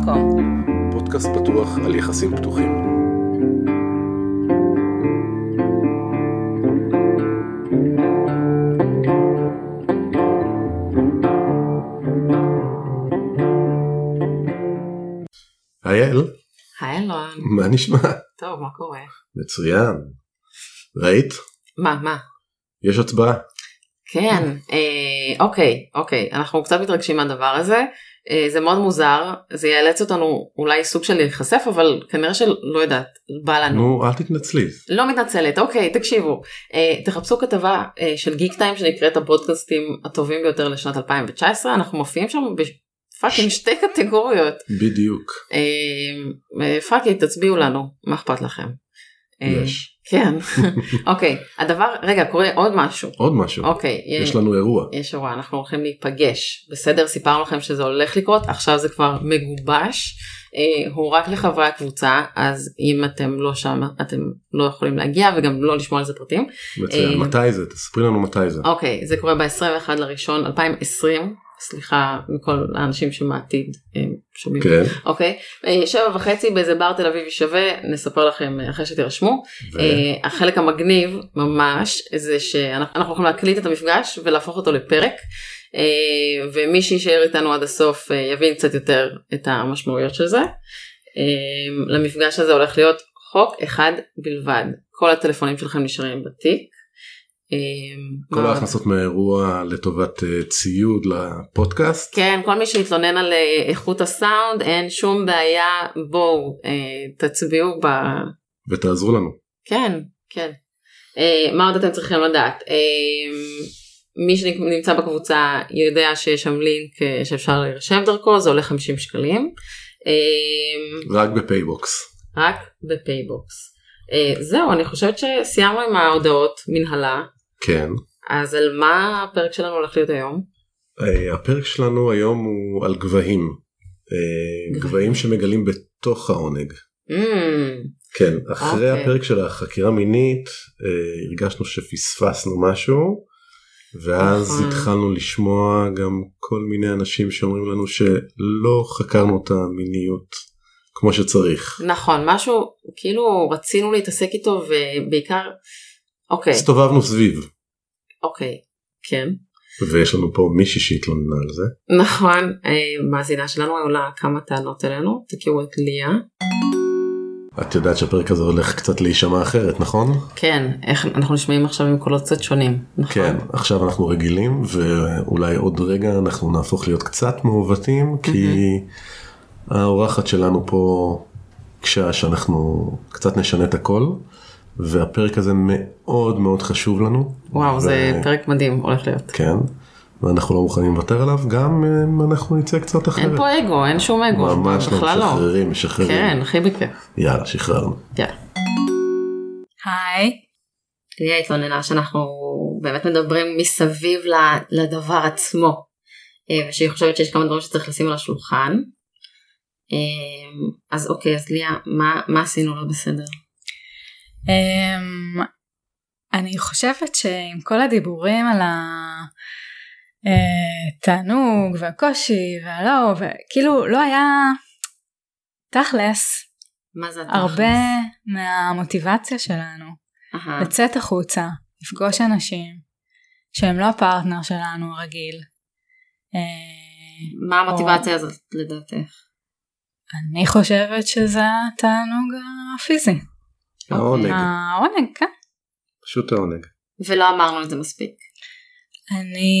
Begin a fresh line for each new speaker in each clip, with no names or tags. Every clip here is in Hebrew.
מקום.
פודקאסט פתוח על יחסים פתוחים. אייל,
היי אלון,
מה נשמע?
טוב, מה קורה?
מצוין. ראית?
מה, מה?
יש הצבעה.
כן, אה, אוקיי, אוקיי, אנחנו קצת מתרגשים מהדבר הזה. אה, זה מאוד מוזר, זה יאלץ אותנו אולי סוג של להיחשף, אבל כנראה שלא יודעת, בא לנו.
נו, אל תתנצלי.
לא מתנצלת, אוקיי, תקשיבו. אה, תחפשו כתבה אה, של גיק טיים שנקראת הפודקאסטים הטובים ביותר לשנת 2019, אנחנו מופיעים שם בפאקינג שתי קטגוריות.
בדיוק.
אה, אה, פאקי, תצביעו לנו, מה אכפת לכם? אה,
יש.
כן, אוקיי, הדבר, רגע, קורה עוד משהו.
עוד משהו.
אוקיי,
יש לנו אירוע.
יש אירוע, אנחנו הולכים להיפגש, בסדר? סיפרנו לכם שזה הולך לקרות, עכשיו זה כבר מגובש, אה, הוא רק לחברי הקבוצה, אז אם אתם לא שם, אתם לא יכולים להגיע וגם לא לשמוע על זה פרטים.
מצוין.
אה,
מתי זה? תספרי לנו מתי זה.
אוקיי, זה קורה ב-21 לראשון 2020, סליחה מכל האנשים שמעתיד אה, שומעים.
כן.
אוקיי, אה, שבע וחצי באיזה בר תל אביבי שווה, נספר לכם אה, אחרי שתירשמו.
ו-
אה, החלק המגניב ממש זה שאנחנו אנחנו יכולים להקליט את המפגש ולהפוך אותו לפרק אה, ומי שיישאר איתנו עד הסוף אה, יבין קצת יותר את המשמעויות של זה. אה, למפגש הזה הולך להיות חוק אחד בלבד כל הטלפונים שלכם נשארים בתיק. אה,
כל
מה-
ההכנסות מהאירוע לטובת אה, ציוד לפודקאסט.
כן, כל מי שהתלונן על אה, איכות הסאונד, אין שום בעיה, בואו, אה, תצביעו ב...
ותעזרו לנו.
כן, כן. אה, מה עוד אתם צריכים לדעת? אה, מי שנמצא בקבוצה יודע שיש שם לינק אה, שאפשר להירשם דרכו, זה עולה 50 שקלים. אה,
רק בפייבוקס.
רק בפייבוקס. אה, זהו, אני חושבת שסיימנו עם ההודעות מנהלה,
כן.
אז על מה הפרק שלנו הולך להיות היום?
אה, הפרק שלנו היום הוא על גבהים. אה, גבהים שמגלים בתוך העונג.
אמ,
כן, אחרי
אוקיי.
הפרק של החקירה מינית אה, הרגשנו שפספסנו משהו, ואז
נכון.
התחלנו לשמוע גם כל מיני אנשים שאומרים לנו שלא חקרנו את המיניות כמו שצריך.
נכון, משהו כאילו רצינו להתעסק איתו ובעיקר, אוקיי,
הסתובבנו סביב,
אוקיי, כן,
ויש לנו פה מישהי שהתלוננה על זה.
נכון, אה, מאזינה שלנו היו לה כמה טענות אלינו, תכירו את ליה,
את יודעת שהפרק הזה הולך קצת להישמע אחרת, נכון?
כן, איך, אנחנו נשמעים עכשיו עם קולות קצת שונים, נכון,
כן, עכשיו אנחנו רגילים, ואולי עוד רגע אנחנו נהפוך להיות קצת מעוותים, כי האורחת שלנו פה קשה שאנחנו קצת נשנה את הכל, והפרק הזה מאוד מאוד חשוב לנו.
וואו,
ו-
זה פרק מדהים הולך להיות.
כן, ואנחנו לא מוכנים לוותר עליו, גם אם אנחנו נצא קצת אחרת.
אין פה אגו, אין שום אגו,
ממש לא
בכלל לא.
משחררים, משחררים.
כן, הכי בכיף.
יאללה, שחררנו.
יאללה.
היי.
ליה התלוננה שאנחנו באמת מדברים מסביב ל- לדבר עצמו, אה, ושהיא חושבת שיש כמה דברים שצריך לשים על השולחן. אה, אז אוקיי, אז ליה, מה- מה עשינו לא בסדר?
Um, אני חושבת שעם כל הדיבורים על התענוג והקושי והלא, וכאילו לא היה תכלס
מה זה התכלס?
הרבה מהמוטיבציה שלנו
אהה,
לצאת החוצה, לפגוש אנשים שהם לא הפרטנר שלנו הרגיל. אה,
מה המוטיבציה הזאת לדעתך?
אני חושבת שזה התענוג הפיזי.
העונג,
אה.
העונג, כן.
פשוט העונג.
ולא אמרנו את זה מספיק.
אני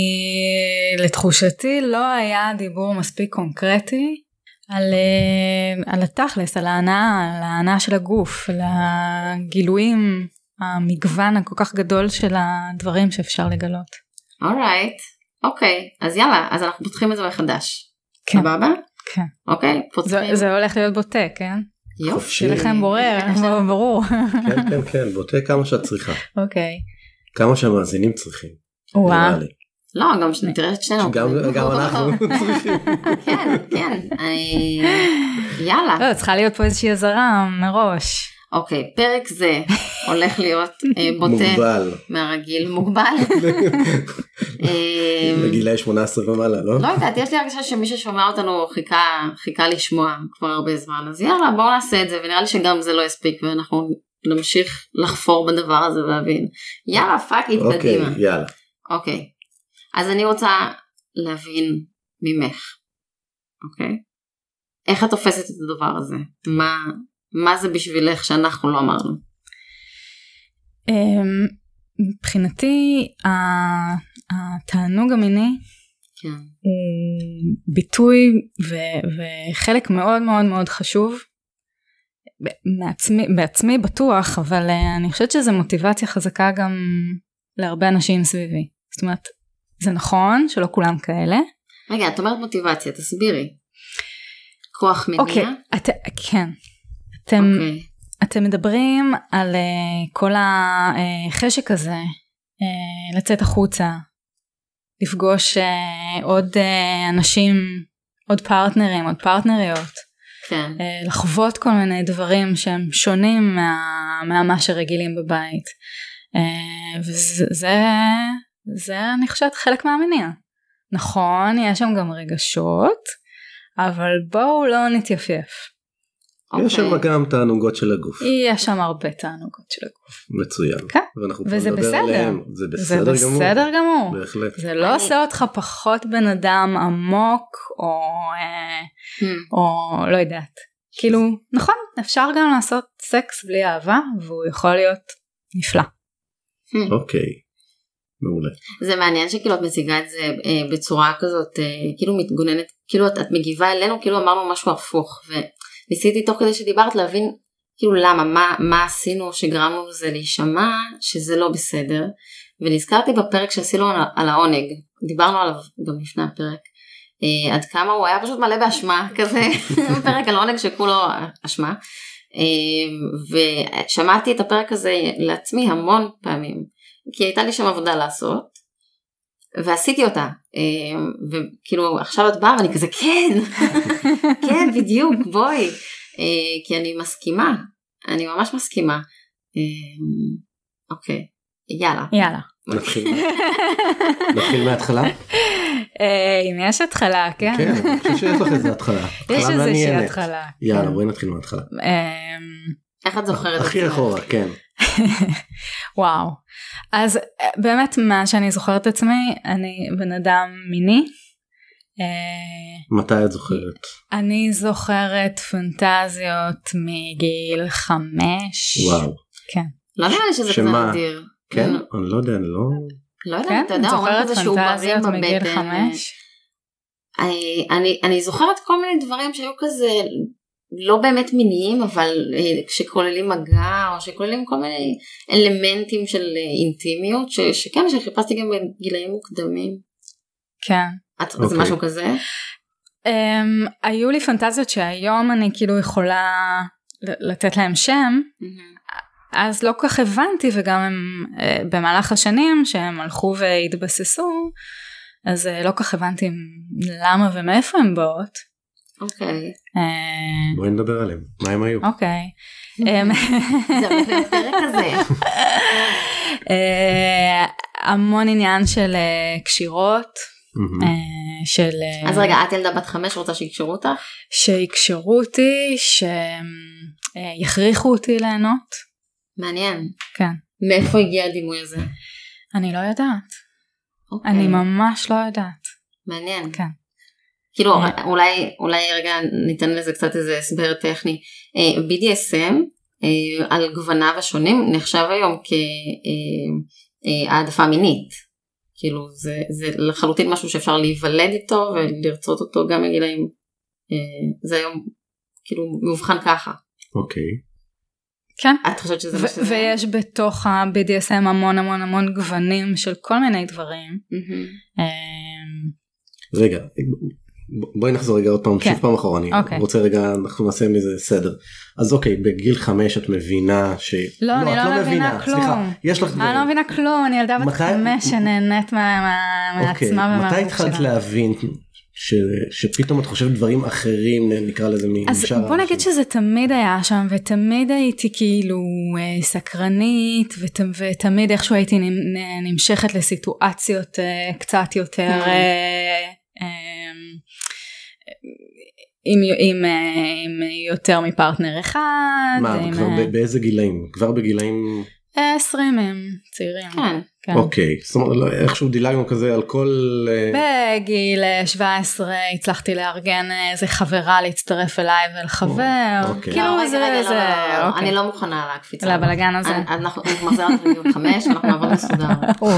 לתחושתי לא היה דיבור מספיק קונקרטי על, אה, על התכלס, על ההנאה, על ההנאה של הגוף, על הגילויים, המגוון הכל כך גדול של הדברים שאפשר לגלות.
אורייט, אוקיי, אז יאללה, אז אנחנו פותחים את זה מחדש.
כן.
סבבה?
כן.
אוקיי,
זה,
פותחים.
זה הולך להיות בוטה, כן?
יופי.
חופשי.
שיהיה לכם בורר, ברור.
כן, כן, כן, בוטה כמה שאת צריכה,
אוקיי.
כמה שהמאזינים צריכים.
וואו.
נראה לי.
לא, גם שנתראה את שנינו.
גם- גם אנחנו צריכים.
כן, כן. אה, יאללה.
לא, צריכה להיות פה איזושהי אזהרה מראש.
אוקיי, פרק זה הולך להיות אה, בוטה
מוגבל.
מהרגיל, מוגבל. אה,
בגילאי 18 ומעלה, לא?
לא יודעת, יש לי הרגשה שמי ששומע אותנו חיכה, חיכה לשמוע כבר הרבה זמן, אז יאללה בואו נעשה את זה, ונראה לי שגם זה לא יספיק, ואנחנו נמשיך לחפור בדבר הזה ולהבין. יאללה פאק איט
אוקיי,
קדימה.
יאללה.
אוקיי, אז אני רוצה להבין ממך, אוקיי? איך את תופסת את הדבר הזה? מה, מה זה בשבילך שאנחנו לא אמרנו?
אמ, מבחינתי ה- התענוג המיני
כן.
הוא אה, ביטוי ו- וחלק מאוד מאוד מאוד חשוב. ב- מעצמי, בעצמי בטוח, אבל אה, אני חושבת שזו מוטיבציה חזקה גם להרבה אנשים סביבי. זאת אומרת, זה נכון שלא כולם כאלה.
רגע, את אומרת מוטיבציה, תסבירי. כוח מניע?
אוקיי, את, כן. אתם,
אוקיי.
אתם מדברים על uh, כל החשק הזה, uh, לצאת החוצה, לפגוש uh, עוד uh, אנשים, עוד פרטנרים, עוד פרטנריות,
כן.
uh, לחוות כל מיני דברים שהם שונים מה, מהמה שרגילים בבית. Uh, וזה זה, זה, אני חושבת חלק מהמניע. נכון, יש שם גם רגשות, אבל בואו לא נתייפייף.
יש שם
אוקיי.
גם תענוגות של הגוף.
יש שם הרבה תענוגות של הגוף.
מצוין.
אה, כן.
ואנחנו פה
וזה
נדבר
בסדר.
עליהם. זה בסדר
זה
גמור.
בסדר גמור.
בהחלט.
זה לא
אני-
עושה אותך פחות בן אדם עמוק או, אה,
Hmm.
או לא יודעת. כאילו נכון אפשר גם לעשות סקס בלי אהבה והוא יכול להיות נפלא.
Hmm.
אוקיי. מעולה.
זה מעניין שכאילו את מציגה את זה אה, בצורה כזאת, אה, כאילו מתגוננת, כאילו את, את מגיבה אלינו, כאילו אמרנו משהו הפוך. וניסיתי תוך כדי שדיברת להבין כאילו למה, מה, מה עשינו שגרמנו לזה להישמע, שזה לא בסדר. ונזכרתי בפרק שעשינו על, ה- על העונג, דיברנו עליו גם לפני הפרק, אה, עד כמה הוא היה פשוט מלא באשמה כזה, פרק על עונג שכולו אשמה. אה, ושמעתי את הפרק הזה לעצמי המון פעמים, כי הייתה לי שם עבודה לעשות, ועשיתי אותה, אה, וכאילו עכשיו את באה ואני כזה כן, כן בדיוק בואי, אה, כי אני מסכימה, אני ממש מסכימה. אה, אוקיי, יאללה.
יאללה.
נתחיל נתחיל מההתחלה?
אה, אם יש התחלה כן.
כן, אני חושב שיש לך איזה התחלה.
יש
התחלה
איזושהי
מעניינת.
התחלה.
יאללה
כן.
בואי נתחיל מההתחלה.
אמ,
איך את זוכרת? את
הכי
עצמך?
אחורה, כן.
וואו. אז אה, באמת מה שאני זוכרת את עצמי אני בן אדם מיני. אה,
מתי את זוכרת?
אני זוכרת פנטזיות מגיל חמש.
וואו.
לא נראה לי שזה כזה
שמה?
נדיר.
כן?
לא-
אני לא יודע, אני לא...
לא
כן,
יודעת, אתה
את
יודע, אומרים
זוכרת
כזה שהוא בריא
פנטזיות מגיל
בבטן.
חמש?
אני- אני- אני זוכרת כל מיני דברים שהיו כזה לא באמת מיניים, אבל אה, שכוללים מגע, או שכוללים כל מיני אלמנטים של אה, אינטימיות, ש- שכן, שחיפשתי גם בגילאים מוקדמים.
כן.
את- זה
אוקיי.
משהו כזה?
Um, היו לי פנטזיות שהיום אני כאילו יכולה ל- לתת להם שם, אז לא כל כך הבנתי וגם הם uh, במהלך השנים שהם הלכו והתבססו, אז uh, לא כל כך הבנתי למה ומאיפה הן באות.
אוקיי.
אה,
בואי נדבר עליהם. מה הם היו?
אוקיי. אמ,
זה הפרק הזה.
אה, המון עניין של אה, קשירות,
מהמם.
אה, של... אה,
אז רגע, את ילדה בת חמש רוצה שיקשרו אותך?
שיקשרו אותי, שיכריחו אותי ליהנות.
מעניין.
כן.
מאיפה הגיע הדימוי הזה?
אני לא יודעת.
אוקיי.
אני ממש לא יודעת.
מעניין.
כן.
כאילו
אה.
אולי אולי רגע ניתן לזה קצת איזה הסבר טכני. אה, BDSM אה, על גווניו השונים נחשב היום כהעדפה מינית. כאילו זה, זה לחלוטין משהו שאפשר להיוולד איתו ולרצות אותו גם מגילאים. אה, זה היום כאילו מאובחן ככה.
אוקיי.
כן.
את חושבת שזה מה
ו-
שזה?
ויש בתוך ה-BDSM המון המון המון גוונים של כל מיני דברים.
מהמם.
אמ,
רגע, ב- בואי נחזור רגע עוד פעם,
כן.
שוב פעם אחורה, אני
אוקיי.
רוצה רגע, אנחנו נעשה מזה סדר. אז אוקיי, בגיל חמש את מבינה ש...
לא, אני
את
לא מבינה כלום.
סליחה, יש לך
אני לא מבינה כלום, אני ילדה בת
מתי-
חמש שנהנית מה- מה-
אוקיי,
מעצמה
מתי
ומהגוף
התחלת
שלה.
להבין ש, שפתאום את חושבת דברים אחרים נקרא לזה משאר
אז בוא נגיד שזה תמיד היה שם ותמיד הייתי כאילו אה, סקרנית ות, ותמיד איכשהו הייתי נמ, נ- נמשכת לסיטואציות אה, קצת יותר
כן.
Mhm.
אה, אה, עם, עם, אה, עם יותר מפרטנר אחד,
מה,
עם
כבר
אה,
ב- באיזה גילאים? כבר בגילאים...
אה, 20 הם צעירים.
כן.
כן.
אוקיי, זאת אומרת לא, איכשהו דילגנו כזה על כל... אה,
בגיל אה, 17 הצלחתי לארגן אה, איזה חברה להצטרף אליי ולחבר,
אוקיי.
לא,
כאילו
רגע,
זה,
רגע, לא,
זה,
לא, לא, לא,
אוקיי.
אני לא מוכנה לקפיצה.
לבלגן הזה.
אני- אנחנו מחזירים את ריון חמש ואנחנו נעבור מסודר.
וואו.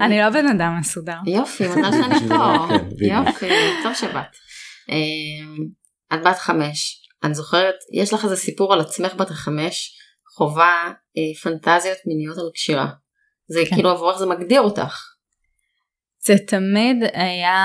אני לא בן אדם מסודר.
יופי, מזל שאני פה.
כן, בדיוק.
יופי, טוב שבאת. אמ, את בת חמש, את זוכרת, יש לך איזה סיפור על עצמך בת החמש, חווה אה, פנטזיות מיניות על קשירה. זה
כן.
כאילו עבורך זה מגדיר אותך.
זה תמיד היה,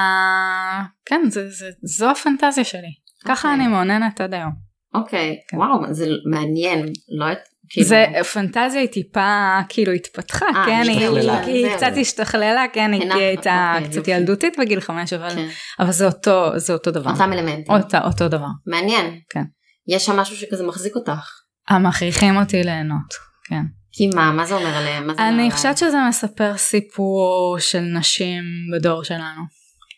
כן, זה, זה, זו הפנטזיה שלי. ככה
אוקיי.
אני מעוננת עד היום.
אוקיי,
כן.
וואו, זה מעניין, לא את... כאילו-
זה פנטזיה היא טיפה כאילו התפתחה,
אה,
כן, היא,
השתכללה.
היא, היא
זהו.
קצת השתכללה, כן, היא
הנחנו,
הייתה
אוקיי,
קצת
יופי.
ילדותית בגיל חמש, אבל,
כן,
אבל זה אותו, זה אותו דבר.
אותם אלמנטים.
אותה, אותו דבר.
מעניין.
כן.
יש שם משהו שכזה מחזיק אותך.
המכריחים אותי ליהנות, כן.
כי מה, מה זה אומר עליהם? מה זה אומר
אני
עליהם?
חושבת שזה מספר סיפור של נשים בדור שלנו.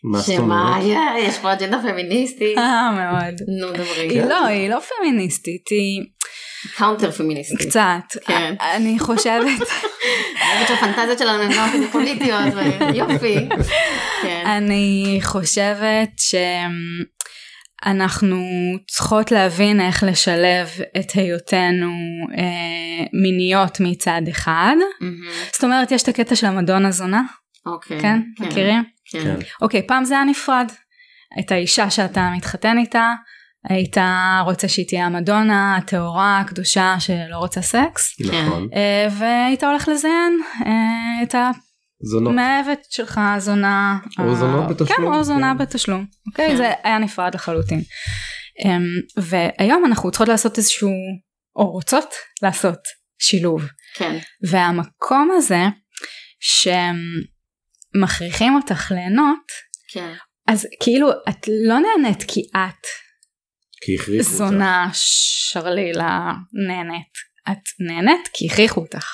מה זאת
שמה,
אומרת?
יא, יש פה אג'נדה פמיניסטית.
אה, מאוד.
נו, דברי.
היא לא, היא לא פמיניסטית, היא
קאונטר פמיניסטית.
קצת.
כן.
אני חושבת,
האמת שהפנטזיות שלנו הן לא כזה פוליטיות, ו- יופי. כן.
אה, אני חושבת שאנחנו צריכות להבין איך לשלב את היותנו אה, מיניות מצד אחד.
מהמם.
זאת אומרת, יש את הקטע של המדון הזונה,
אוקיי.
כן? מכירים?
כן.
כן.
אוקיי, פעם זה היה נפרד. את האישה שאתה מתחתן איתה, היית רוצה שהיא תהיה המדונה, הטהורה, הקדושה, שלא רוצה סקס,
נכון.
אה, והיית הולך לזיין אה, את
זונות.
המאהבת שלך, הזונה.
או
ה-
זונה לא. בתשלום,
כן, או זונה
כן.
בתשלום. אוקיי,
כן.
זה היה נפרד לחלוטין. אמ, והיום אנחנו צריכות לעשות איזשהו, או רוצות לעשות, שילוב.
כן.
והמקום הזה, שמכריחים אותך ליהנות,
כן.
אז כאילו את לא נהנית כי את
כי הכריחו אותה.
זונה שרלילה נהנית. את נהנית כי הכריחו אותך.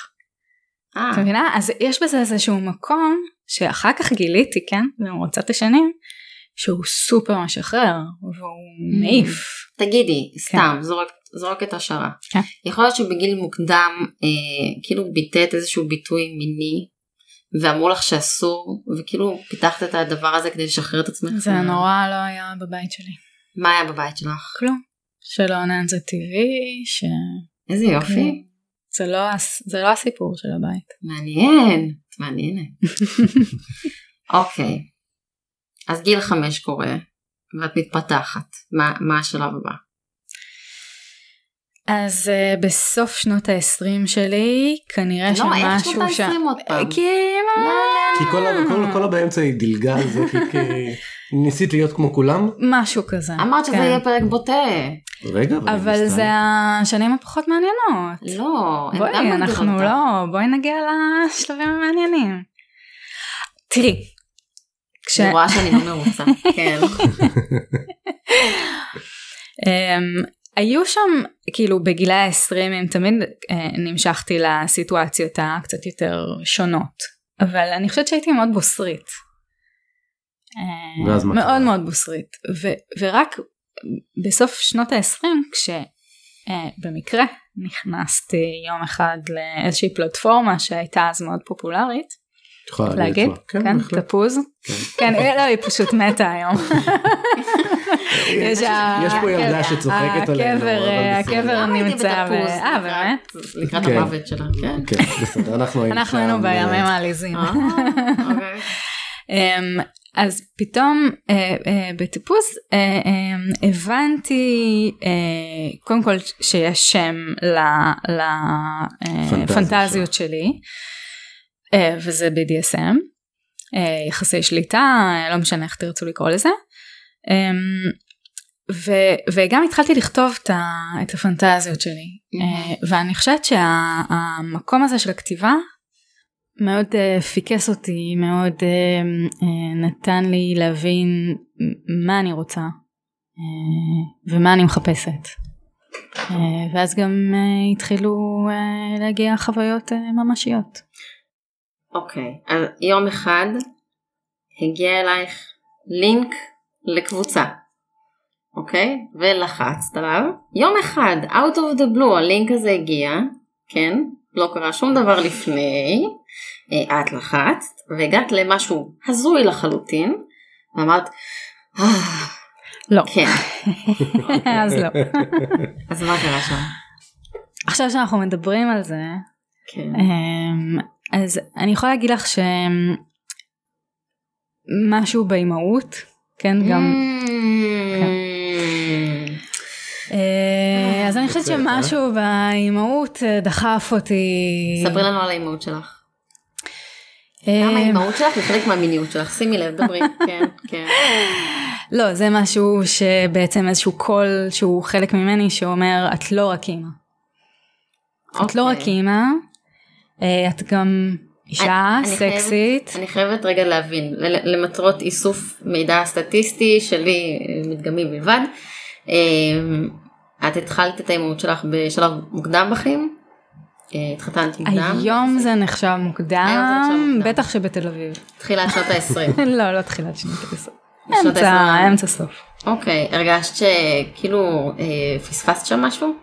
אה,
את מבינה? אז יש בזה איזשהו מקום שאחר כך גיליתי, כן, במרוצת השנים, שהוא סופר משחרר
Mm.
והוא מעיף.
תגידי, סתם, זורק- זורקת השערה.
כן.
יכול להיות שבגיל מוקדם, אה, כאילו ביטאת איזשהו ביטוי מיני, ואמרו לך שאסור, וכאילו פיתחת את הדבר הזה כדי לשחרר את עצמך.
זה נורא לא היה בבית שלי.
מה היה בבית שלך?
כלום. שלא עונן זה טבעי, שזה
איזה יופי.
לא, הס- זה לא הסיפור של הבית.
מעניין. את מעניינת. אוקיי. אז גיל חמש קורה, ואת מתפתחת. מה, מה השלב הבא?
אז אה, בסוף שנות ה-20 שלי, כנראה
לא, איך
שמשהו
שנות
ש... אה,
ה-20 עוד פעם?
כי...
לא, לא,
כי כל ה- כל- כל הבאמצע היא דילגה על זה, כי כי ניסית להיות כמו כולם.
משהו כזה.
אמרת שזה
כן.
יהיה פרק בוטה.
רגע,
אבל
ניסתה.
זה השנים הפחות מעניינות.
לא, הם גם
בואי,
מגדירים
אנחנו
אותה.
לא, בואי נגיע לשלבים המעניינים. תראי, כש...
אני רואה שאני לא מרוצה. כן.
אמ, היו שם, כאילו בגילי ה-20, הם תמיד אה, נמשכתי לסיטואציות הקצת יותר שונות. אבל אני חושבת שהייתי מאוד בוסרית. אה,
ואז מה קרה?
מאוד מאוד בוסרית. ו- ורק בסוף שנות ה-20, כשבמקרה נכנסתי יום אחד לאיזושהי פלטפורמה שהייתה אז מאוד פופולרית,
את יכולה להגיד?
להגיד,
את מה?
כן,
בהחלט.
תפוז, כן, היא- לא, היא פשוט מתה היום. יש ה-
יש פה ילדה שצוחקת עלינו,
הקבר, אה,
אבל בסדר.
הקבר
לא הייתי
נמצא, ב-
בתפוז
אה באמת?
לקראת- לקראת
כן.
המוות שלה. כן.
כן, בסדר, אנחנו היינו
אנחנו היינו
שם,
בימים
אה,
העליזים.
אה, אוקיי.
אמ, אז פתאום אה, אה, בטיפוס אה, אמ, הבנתי אה, קודם כל שיש שם
פנטזיה
לפנטזיות שלי אה, וזה BDSM, אה, יחסי שליטה, אה, לא משנה איך תרצו לקרוא לזה. אמ, ו- וגם התחלתי לכתוב את, ה- את הפנטזיות שלי
מהמם.
אה, ואני חושבת שהמקום הזה של הכתיבה מאוד אה, פיקס אותי, מאוד אה, אה, נתן לי להבין מה אני רוצה אה, ומה אני מחפשת. אה, ואז גם אה, התחילו אה, להגיע חוויות אה, ממשיות.
אוקיי, אז יום אחד הגיע אלייך לינק לקבוצה, אוקיי? ולחצת עליו. יום אחד, out of the blue, הלינק הזה הגיע, כן? לא קרה שום דבר לפני, אה, את לחצת, והגעת למשהו הזוי לחלוטין, ואמרת, "אה,
לא,
כן,
אז לא.
אז מה קרה שם?
עכשיו שאנחנו מדברים על זה,
כן.
אמ, אז אני יכולה להגיד לך שמשהו באימהות, כן, גם...
Mm.
אה, אז אני חושבת שמשהו באימהות אה, דחף אותי.
ספרי לנו על האימהות שלך.
אה,
גם האימהות שלך היא חלק מהמיניות שלך, שימי לב, דברי, כן, כן.
לא, זה משהו שבעצם איזשהו קול שהוא חלק ממני שאומר, את לא רק אימא. את לא רק
אוקיי.
אימא, אה, את גם אישה
אני- אני חייבת-
סקסית.
אני חייבת רגע להבין, ל- למטרות איסוף מידע סטטיסטי שלי אה, מדגמי בלבד, אה, את התחלת את האימהות שלך בשלב מוקדם בחיים? אה, התחתנת מוקדם?
היום זה נחשב מוקדם,
מוקדם.
בטח שבתל אביב.
תחילת שנות ה-20.
לא, לא תחילת שנות ה-10.
שנות
אמצע,
ה-עשרה.
אמצע סוף.
אוקיי, הרגשת שכאילו אה, פספסת שם משהו?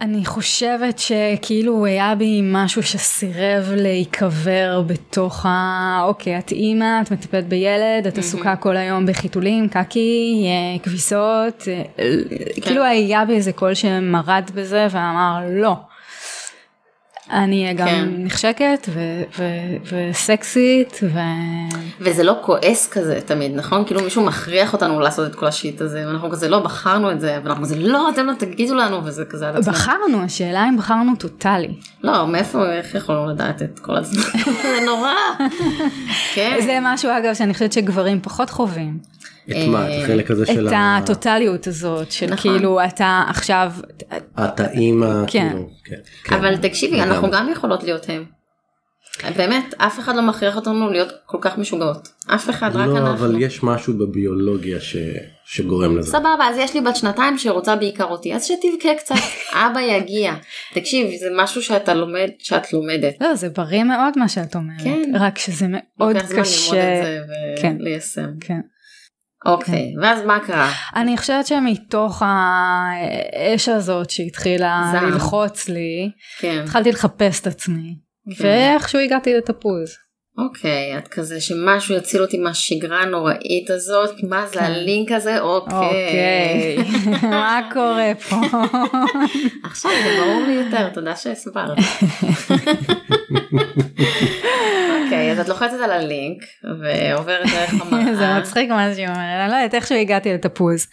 אני חושבת שכאילו היה בי משהו שסירב להיקבר בתוך ה... אוקיי, את אימא, את מטפלת בילד, את עסוקה כל היום בחיתולים, קקי, אה, כביסות, אה, כאילו היה בי איזה קול שמרד בזה ואמר לא. אני אהיה
כן.
גם נחשקת ו- ו- וסקסית ו...
וזה לא כועס כזה תמיד, נכון? כאילו מישהו מכריח אותנו לעשות את כל השיט הזה, ואנחנו כזה לא בחרנו את זה, ואנחנו כזה לא, אתם לא תגידו לנו, וזה כזה על עצמנו.
בחרנו, השאלה אם בחרנו טוטאלי.
לא, מאיפה, איך יכולנו לדעת את כל הזמן? זה נורא. כן.
זה משהו אגב שאני חושבת שגברים פחות חווים.
את מה? את החלק הזה של
אה, את
ה-
הטוטליות הזאת של
נכון.
כאילו אתה עכשיו,
את האימא.
כן.
כאילו, כן, כן.
אבל תקשיבי, אנחנו
לגמרי.
גם יכולות להיות הם. באמת, אף אחד לא מכריח אותנו להיות כל כך משוגעות. אף אחד, רק
לא,
אנחנו.
אבל יש משהו בביולוגיה ש- שגורם לזה.
סבבה, אז יש לי בת שנתיים שרוצה בעיקר אותי, אז שתבכה קצת, אבא יגיע. תקשיב, זה משהו שאתה לומד, שאת לומדת.
לא זה בריא מאוד מה שאת אומרת,
כן.
רק שזה מאוד
לוקח זמן ללמוד את
קשה.
זה
כן.
וליישם.
כן.
אוקיי, ואז מה קרה?
אני חושבת שמתוך האש הזאת שהתחילה
זעם.
ללחוץ לי,
כן.
התחלתי לחפש את עצמי,
כן.
ואיכשהו הגעתי לתפוז.
אוקיי, את כזה שמשהו יציל אותי מהשגרה הנוראית הזאת, מה זה הלינק הזה? אוקיי.
כן. אוקיי, מה קורה פה?
עכשיו זה ברור לי יותר, תודה שהסברת. אוקיי, אז את לוחצת על הלינק ועוברת דרך המראה.
אה?
זה מצחיק מה שהיא אומרת, אני לא יודעת איך שהוא הגעתי לתפוז.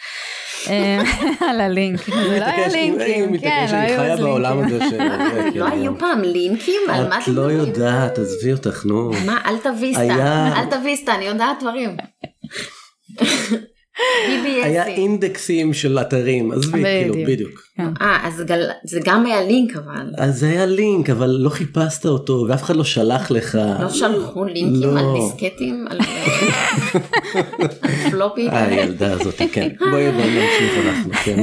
אה, על הלינק, זה לא היה לינקים, כן, לא
אני
היו
חיה
אז
בעולם
לינקים.
הזה ש... זה,
לא
כאילו,
היו פעם לינקים? על מה
את
אתם
לא
מדברים?
יודעת, עזבי אותך, נו.
מה, אל תביס
היה-
אל תביס אני יודעת דברים.
היה
BBSים.
אינדקסים של אתרים, עזבי, כאילו,
בדיוק.
בדיוק.
אה, אז גל- זה גם היה לינק אבל.
אז זה היה לינק, אבל לא חיפשת אותו, ואף אחד לא שלח לך.
לא שלחו לינקים
לא.
על דיסקטים? על אה, על פלופי?
אה, הילדה הזאת, כן. בואי בואי נמשיך אנחנו, כן.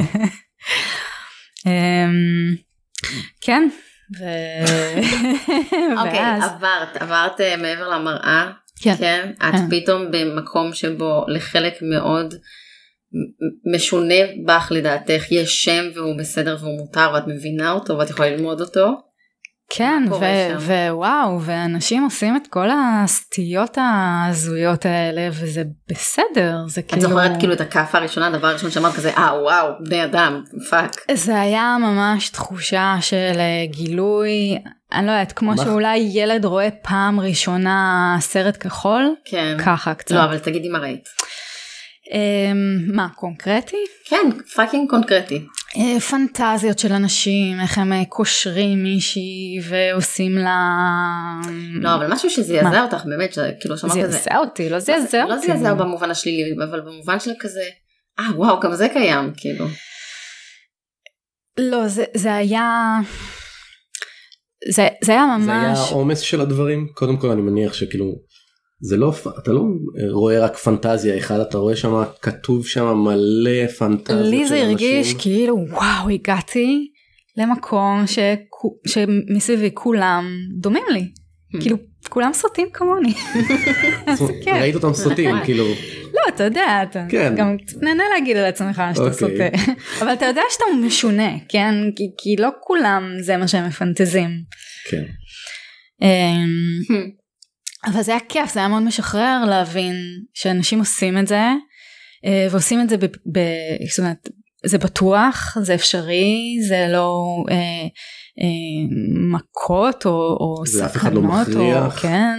אמ, כן, ו-
אוקיי,
ואז,
עברת, עברת אה, מעבר למראה,
כן.
כן? את
כן.
פתאום במקום שבו לחלק מאוד מ- משונה בך לדעתך, יש שם והוא בסדר והוא מותר ואת מבינה אותו ואת יכולה ללמוד אותו.
כן,
מה קורה
ו-
שם?
ווואו, ואנשים עושים את כל הסטיות ההזויות האלה, וזה בסדר, זה
את
כאילו...
זוכרת כאילו את הכאפה הראשונה, הדבר הראשון שאמרת כזה, אה וואו, בני אדם, פאק.
זה היה ממש תחושה של אה, גילוי, אני לא יודעת, כמו
מה-
שאולי ילד רואה פעם ראשונה סרט כחול,
כן.
ככה קצת.
לא, אבל תגידי מה ראית.
אמ, מה, קונקרטי?
כן, פאקינג קונקרטי.
אה, פנטזיות של אנשים, איך הם אה, קושרים מישהי ועושים לה...
לא, אבל משהו שזעזע אותך באמת, שכאילו שאמרת כזה,
זעזע אותי, לא זעזע אותי.
לא זעזע במובן השלילי, אבל במובן של כזה, אה וואו, גם זה קיים, כאילו.
לא, זה, זה היה... זה, זה היה
זה היה
ממש,
העומס של הדברים קודם כל אני מניח שכאילו זה לא פ- אתה לא רואה רק פנטזיה אחד אתה רואה שם כתוב שם מלא פנטזיות
לי
של
זה הרגיש
אנשים.
כאילו וואו הגעתי למקום שכו- שמסביבי כולם דומים לי,
Hmm.
כאילו כולם סוטים כמוני,
זאת אומרת,
כן.
ראית אותם סוטים כאילו
לא אתה יודע, אתה
כן.
גם נהנה להגיד על עצמך שאתה
אוקיי.
סוטה, אבל אתה יודע שאתה משונה, כן, כי, כי לא כולם זה מה שהם מפנטזים.
כן
אמ,
Hmm.
אבל זה היה כיף, זה היה מאוד משחרר להבין שאנשים עושים את זה, אה, ועושים את זה, ב, ב, זאת אומרת, זה בטוח, זה אפשרי, זה לא אה, אה, מכות או, או
זה אף אחד לא
סכנות, או
מכריח.
כן,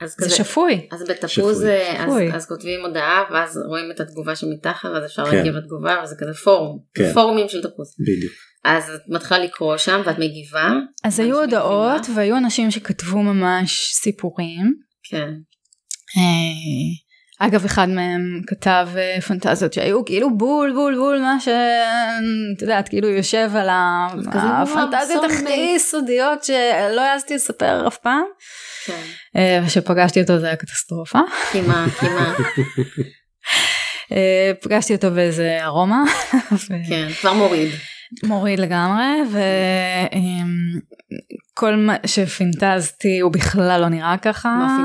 אז
זה
כזה,
שפוי.
אז בתפוז
שפוי.
אה, אז,
שפוי.
אז כותבים הודעה ואז רואים את התגובה שמתחת ואז אפשר
כן.
להגיב לתגובה וזה כזה פורום,
כן.
פורומים של תפוז.
בדיוק
אז את מתחילה לקרוא שם ואת מגיבה, ממש
אז היו
מגניבה.
הודעות והיו אנשים שכתבו ממש סיפורים.
כן,
אה, אגב אחד מהם כתב אה, פנטזיות שהיו כאילו בול בול בול מה שאת יודעת כאילו יושב על ה-
אז כזה, וואו,
הפנטזיות
זומבי.
הכי סודיות שלא העזתי לספר אף פעם.
כן,
אה, וכשפגשתי אותו זה היה קטסטרופה.
קימה, קימה,
אה, פגשתי אותו באיזה ארומה. ו-
כן, כבר מוריד.
מוריד לגמרי וכל מה שפינטזתי הוא בכלל לא נראה ככה.
מה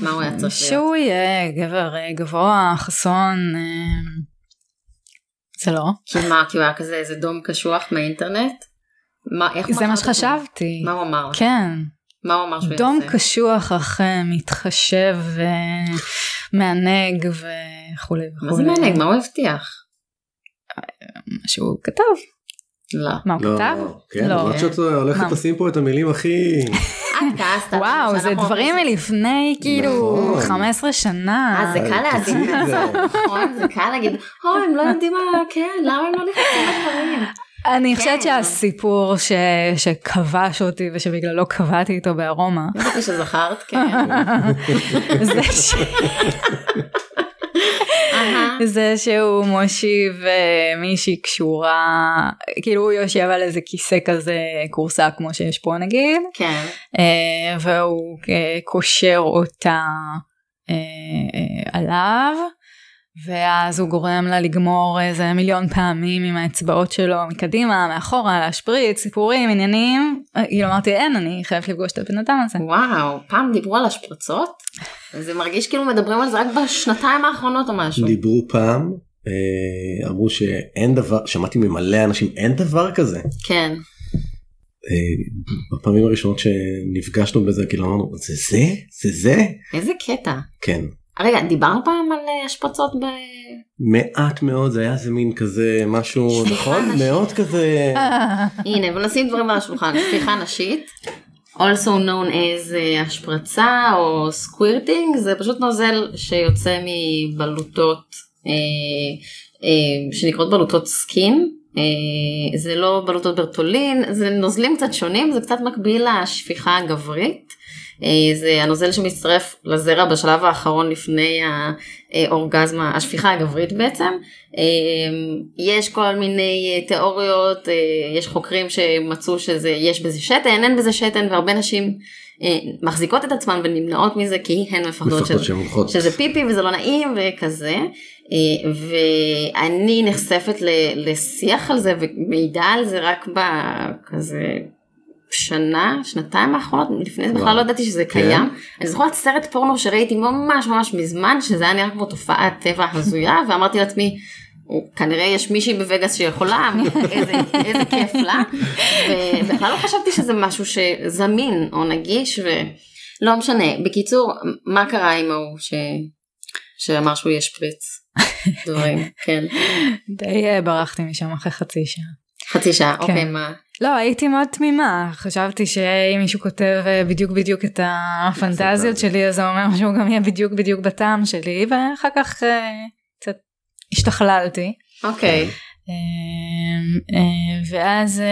פינטזת? מה הוא היה צריך להיות?
שהוא יהיה גבר אה, גבוה, חסון, אה, זה לא.
כי מה, כי הוא היה כזה איזה דום קשוח מהאינטרנט? מה, איך הוא
זה
מכר
מה
את עצמו?
שחשבתי.
מה הוא אמר? לך?
כן,
מה הוא אמר שהוא יעשה?
דום קשוח אך אה, מתחשב ומענג וכולי וכולי.
מה זה מענג? מה הוא הבטיח?
מה שהוא כתב.
לא.
מה הוא
לא,
כתב?
כן,
לא.
למרות שאת הולכת
מה?
לשים פה את המילים הכי
את כעסת. על
וואו, זה
שאנחנו
דברים
אומרים-
מלפני כאילו
נכון.
15 שנה.
אה, זה קל להגיד,
תוציאי את זה.
נכון, זה קל להגיד, או, הם לא יודעים מה, כן, למה הם לא נכנסים לדברים?
אני
כן.
חושבת שהסיפור ש... שכבש אותי ושבגללו לא קבעתי איתו בארומה,
ידעתי שזכרת, כן.
זה, ש...
אהה.
זה שהוא מושיב אה, מישהי קשורה, כאילו הוא יושב על איזה כיסא כזה כורסה כמו שיש פה נגיד,
כן,
אה, והוא אה, קושר אותה אה, אה, עליו. ואז הוא גורם לה לגמור איזה מיליון פעמים עם האצבעות שלו מקדימה, מאחורה, להשפריץ, סיפורים, עניינים. אה, כאילו אמרתי, אין, אני חייבת לפגוש את הבן אדם הזה.
וואו, פעם דיברו על השפרצות? זה מרגיש כאילו מדברים על זה רק בשנתיים האחרונות או משהו.
דיברו פעם אה, אמרו שאין דבר שמעתי ממלא אנשים אין דבר כזה
כן,
אה, בפעמים הראשונות שנפגשנו בזה כאילו אמרנו זה זה זה זה
איזה קטע. אה,
כן
רגע, דיברנו פעם על אה, השפרצות ב...
מעט מאוד זה היה איזה מין כזה משהו
שפיכה
נכון
נשית. אה,
מאוד כזה
הנה, בוא נשים דברים על השולחן. שפיכה נשית, also known as אה, השפרצה או סקווירטינג, זה פשוט נוזל שיוצא מבלוטות אה, אה, שנקראות בלוטות סכין. אה, זה לא בלוטות ברטולין, זה נוזלים קצת שונים, זה קצת מקביל לשפיכה הגברית. אה, זה הנוזל שמצטרף לזרע בשלב האחרון לפני האורגזמה, השפיכה הגברית בעצם. אמ, יש כל מיני אה, תיאוריות, אה, יש חוקרים שמצאו שזה, יש בזה שתן, אין בזה שתן, והרבה נשים אה, מחזיקות את עצמן ונמנעות מזה כי הן מפחדות
מפחדות
שזה,
שהן הולכות.
שזה פיפי וזה לא נעים וכזה. אה, ואני נחשפת ל- לשיח על זה ומעידה על זה רק בכזה שנה, שנתיים האחרונות, לפני זה בכלל
וואו.
לא ידעתי שזה
כן.
קיים. אני זוכרת סרט פורנו שראיתי ממש ממש מזמן, שזה היה נראה כמו תופעת טבע הזויה, ואמרתי לעצמי, "הוא- כנראה יש מישהי בווגאס שיכולה, איזה, איזה כיף לה. ובכלל לא חשבתי שזה משהו שזמין או נגיש, ולא משנה. בקיצור, מה קרה עם ההוא ש... שאמר שהוא ישפריץ דברים, כן.
די אה, ברחתי משם אחרי חצי שעה.
חצי שעה,
כן.
אוקיי, מה?
לא, הייתי מאוד תמימה, חשבתי שאם מישהו כותב אה, בדיוק בדיוק את הפנטזיות שלי, אז זה אומר שהוא גם יהיה בדיוק בדיוק בטעם שלי, ואחר כך אה, קצת השתכללתי.
אוקיי.
כן. אה, אה, ואז אה,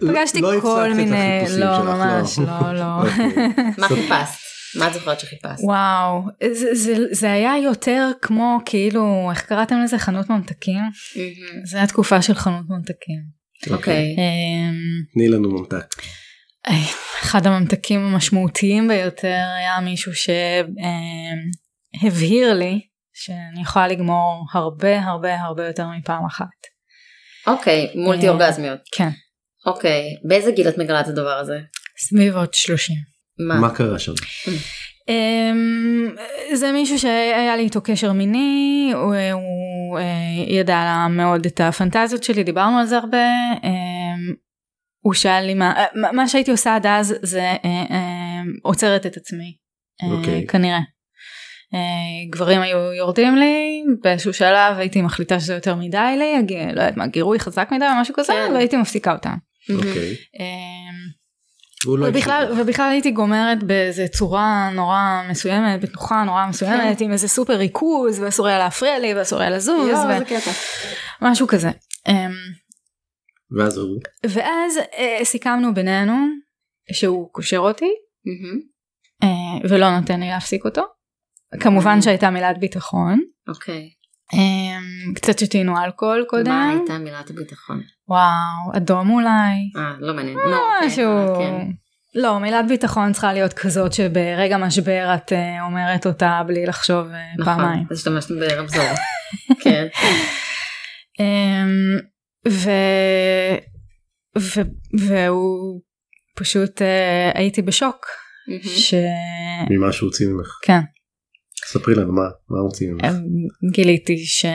פגשתי
לא
כל
הפסקת את
מיני,
החיפושים
לא,
שלך, לא.
ממש, לא, לא.
אוקיי.
מה חיפשת? מה את זוכרת שחיפשת?
וואו, זה- זה- זה היה יותר כמו כאילו, איך קראתם לזה? חנות ממתקים?
מהמם.
זה היה תקופה של חנות ממתקים.
אוקיי.
אמ,
תני לנו ממתק.
איי, אחד הממתקים המשמעותיים ביותר היה מישהו שהבהיר לי שאני יכולה לגמור הרבה הרבה הרבה יותר מפעם אחת.
אוקיי, מולטי אורגזמיות.
כן,
אוקיי, באיזה גיל את מגלה את הדבר הזה?
סביב עוד 30.
מה?
מה קרה שם?
אמ, זה מישהו שהיה לי איתו קשר מיני, הוא, הוא אה, ידע לה מאוד את הפנטזיות שלי, דיברנו על זה הרבה. אמ, הוא שאל לי מה, אה, מה שהייתי עושה עד אז זה אה, אה, עוצרת את עצמי, אה,
אוקיי.
כנראה. אה, גברים היו יורדים לי, באיזשהו שלב הייתי מחליטה שזה יותר מדי לי, הג- לא יודעת מה, גירוי חזק מדי או משהו כזה,
כן.
והייתי מפסיקה אותם.
אוקיי.
אמ,
והוא לא
ובכלל,
הקשיב לך.
ובכלל הייתי גומרת באיזה צורה נורא מסוימת, בתנוחה נורא
כן.
מסוימת, עם איזה סופר ריכוז, ואסור היה להפריע לי, ואסור היה
לא,
לזוז, ומשהו כזה. אמ,
ואז הוא
ואז אה, סיכמנו בינינו שהוא קושר אותי,
מהמם.
אה, ולא נותן לי להפסיק אותו.
Mm.
כמובן שהייתה מילת ביטחון.
אוקיי.
אמ, קצת שתינו אלכוהול
מה
קודם.
הייתה מילת הביטחון?
וואו, אדום אולי.
אה, לא מעניין. נו, אוקיי,
משהו.
אה, כן.
לא, מילת ביטחון צריכה להיות כזאת שברגע משבר את אה, אומרת אותה בלי לחשוב אה, פעמיים.
נכון, אז השתמשתם ברמזור. כן.
אמ, ו... ו... והוא פשוט אה, הייתי בשוק
מהמם.
ש...
ממה שהוציא ממך.
כן,
ספרי לנו מה, מה הוציא ממך.
אמ, גיליתי ש...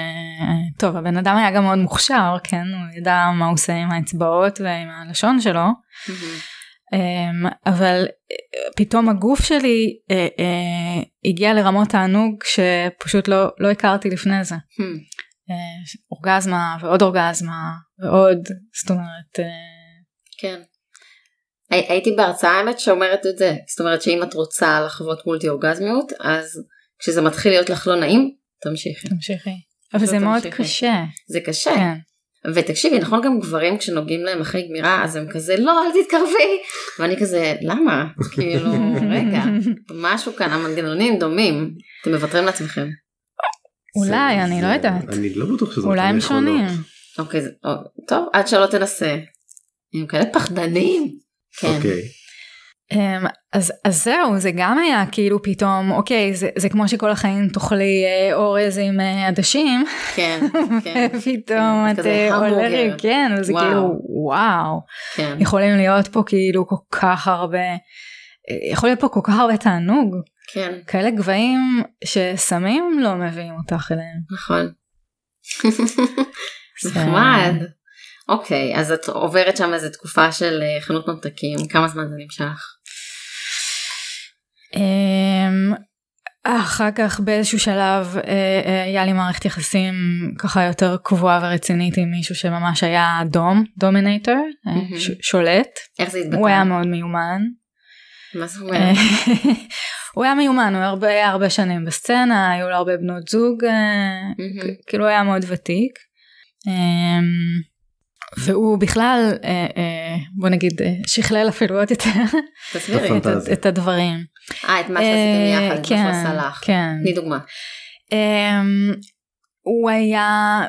טוב, הבן אדם היה גם מאוד מוכשר, כן? הוא ידע מה הוא עושה עם האצבעות ועם הלשון שלו,
מהמם.
אמ, אבל אה, פתאום הגוף שלי אה, אה, הגיע לרמות תענוג שפשוט לא, לא הכרתי לפני זה.
מהמם.
אה, אורגזמה ועוד אורגזמה ועוד, זאת אומרת... אה,
כן. הי- הייתי בהרצאה האמת שאומרת את זה, זאת אומרת שאם את רוצה לחוות מולטי אורגזמיות, אז כשזה מתחיל להיות לך לא נעים, תמשיכי.
תמשיכי. אבל זה
פשוט
מאוד
תמשיכי. אה,
קשה.
זה קשה.
כן.
ותקשיבי, נכון גם גברים כשנוגעים להם אחרי גמירה, אז הם כזה, לא, אל תתקרבי. ואני כזה, למה? כאילו, רגע, משהו כאן, המנגנונים דומים. אתם מוותרים לעצמכם.
אולי,
זה-
אני
זה-
לא יודעת.
אני לא בטוח שזה...
אולי
אותם
הם שונים.
יכולות.
אוקיי, זה- או- טוב, עד שלא תנסה. הם כאלה פחדנים. כן.
אוקיי.
אמ, אז, אז זהו, זה גם היה כאילו פתאום, אוקיי, זה, זה כמו שכל החיים תאכלי אה, אורז עם אה, עדשים,
כן, כן,
פתאום
כן,
את
כזה
אה,
המבורגר.
עולה, כן, וזה
וואו.
כאילו, וואו,
כן.
יכולים להיות פה כאילו כל כך הרבה, אה, יכול להיות פה כל כך הרבה תענוג,
כן,
כאלה גבהים שסמים לא מביאים אותך אליהם.
נכון.
זה-
נחמד. אוקיי, אז את עוברת שם איזה תקופה של אה, חנות ממתקים, כמה זמן זה נמשך?
אמ, אחר כך באיזשהו שלב אה, אה, היה לי מערכת יחסים ככה יותר קבועה ורצינית עם מישהו שממש היה דום, דומינטור, אה,
מהמם.
שולט,
איך זה התבטא?
הוא היה אה, מאוד מיומן.
מה זאת אומרת?
הוא היה מיומן, הוא היה הרבה, היה הרבה שנים בסצנה, היו לו הרבה בנות זוג, אה,
מהמם.
כ- כאילו הוא היה מאוד ותיק. אמ, והוא בכלל, אה, אה, בוא נגיד, אה, שכלל אפילו עוד יותר
תסבירי.
נכון.
את ה-
פנטזיה.
את הדברים.
אה, את מה שעשיתם
אה,
יחד, את מה שהוא עשה לך.
כן.
תני דוגמה.
אמ, הוא היה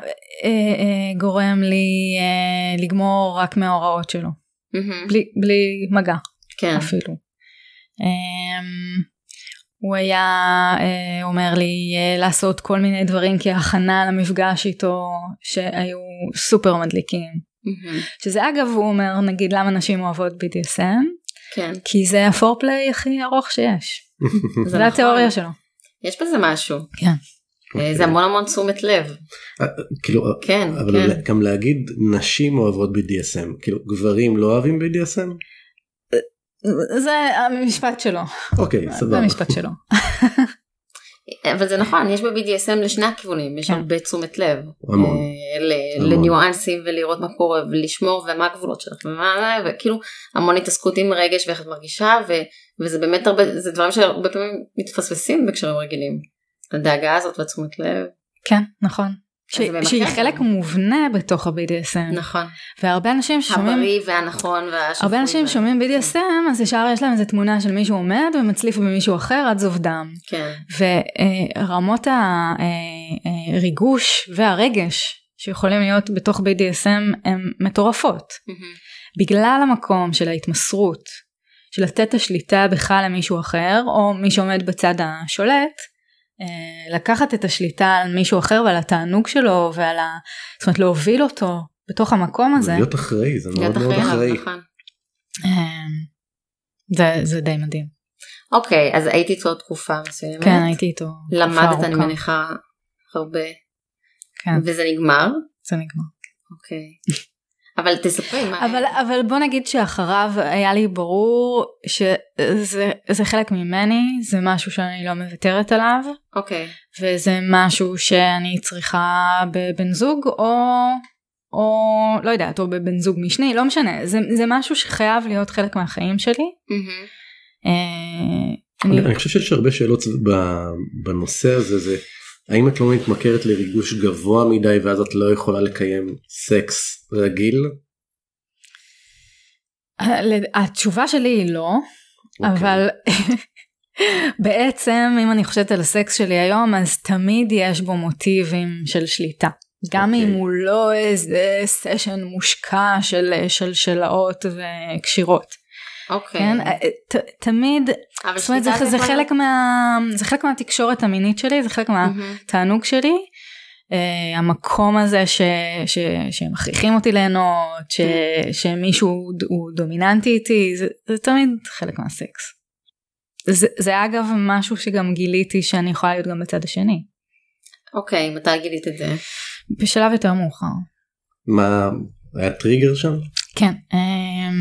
אה, אה, גורם לי אה, לגמור רק מההוראות שלו,
מהמם.
בלי, בלי מגע
כן.
אפילו. אמ, הוא היה אה, אומר לי אה, לעשות כל מיני דברים כהכנה למפגש איתו שהיו סופר מדליקים.
מהמם.
שזה אגב הוא אומר נגיד למה נשים אוהבות BDSM
כן.
כי זה הפורפליי הכי ארוך שיש.
זה
זה
נכון.
התיאוריה שלו.
יש בזה משהו.
כן.
אה, זה המון המון תשומת לב.
כאילו,
כן,
אוקיי. אבל
כן.
גם להגיד נשים אוהבות BDSM, כאילו גברים לא אוהבים BDSM?
זה המשפט שלו.
אוקיי,
זה
סבבה.
המשפט שלו.
אבל זה נכון, יש ב-BDSM לשני הכיוונים, יש
כן.
הרבה תשומת לב.
המון.
אה, ל-
המון.
לניואנסים ולראות מה קורה ולשמור ומה הגבולות שלך ומה וכאילו המון התעסקות עם רגש ואיך את מרגישה ו, וזה באמת הרבה זה דברים שהרבה פעמים מתפספסים בקשרים רגילים. הדאגה הזאת והתשומת לב.
כן, נכון. ש-
אז זה ממכר
שהיא
גם.
חלק מובנה בתוך ה-BDSM.
נכון.
והרבה אנשים כן. שומעים,
הבריא והנכון והשפוי.
הרבה אנשים
וה-
שומעים BDSM, אז ישר יש להם איזו תמונה של מישהו עומד ומצליף במישהו אחר עד זוב דם.
כן.
ורמות הריגוש אה, והרגש שיכולים להיות בתוך BDSM הן מטורפות. בגלל המקום של ההתמסרות, של לתת את השליטה בך למישהו אחר, או מי שעומד בצד השולט, אה, לקחת את השליטה על מישהו אחר ועל התענוג שלו ועל ה... זאת אומרת להוביל אותו בתוך המקום הזה,
להיות אחראי זה מאוד
להיות
מאוד
אחראי עליו,
אחראי.
נכון.
אה, זה, זה די מדהים.
אוקיי, אז הייתי איתו תקופה מסוימת.
כן, הייתי איתו. תקופה
למדת, אני
ארוכה.
מניחה, הרבה.
כן,
וזה נגמר.
זה נגמר.
אוקיי. אבל תספרי מה...
אבל, אבל בוא נגיד שאחריו היה לי ברור שזה זה חלק ממני, זה משהו שאני לא מוותרת עליו,
אוקיי.
וזה משהו שאני צריכה בבן זוג, או, או לא יודעת, או בבן זוג משני, לא משנה, זה, זה משהו שחייב להיות חלק מהחיים שלי.
מהמם.
אה,
אני,
אני,
אני חושב שיש הרבה שאלות ב- בנושא הזה זה האם את לא מתמכרת לריגוש גבוה מדי ואז את לא יכולה לקיים סקס רגיל.
התשובה שלי היא לא,
אוקיי.
אבל בעצם אם אני חושבת על הסקס שלי היום אז תמיד יש בו מוטיבים של שליטה. גם
אוקיי.
אם הוא לא איזה סשן מושקע של שלשלאות וקשירות,
אוקיי.
כן? ת- תמיד,
אבל
זאת אומרת זה-
שליטה
זה
יכולה-
חלק מה- זה חלק מהתקשורת המינית שלי, זה חלק מה...
מהמם.
התענוג שלי. Uh, המקום הזה ש, ש, שמכריחים אותי ליהנות, ש, שמישהו ד- הוא דומיננטי איתי, זה, זה תמיד חלק מהסקס. זה, זה אגב משהו שגם גיליתי שאני יכולה להיות גם בצד השני,
אוקיי, מתי גילית את זה?
בשלב יותר מאוחר.
מה היה טריגר שם?
כן, um,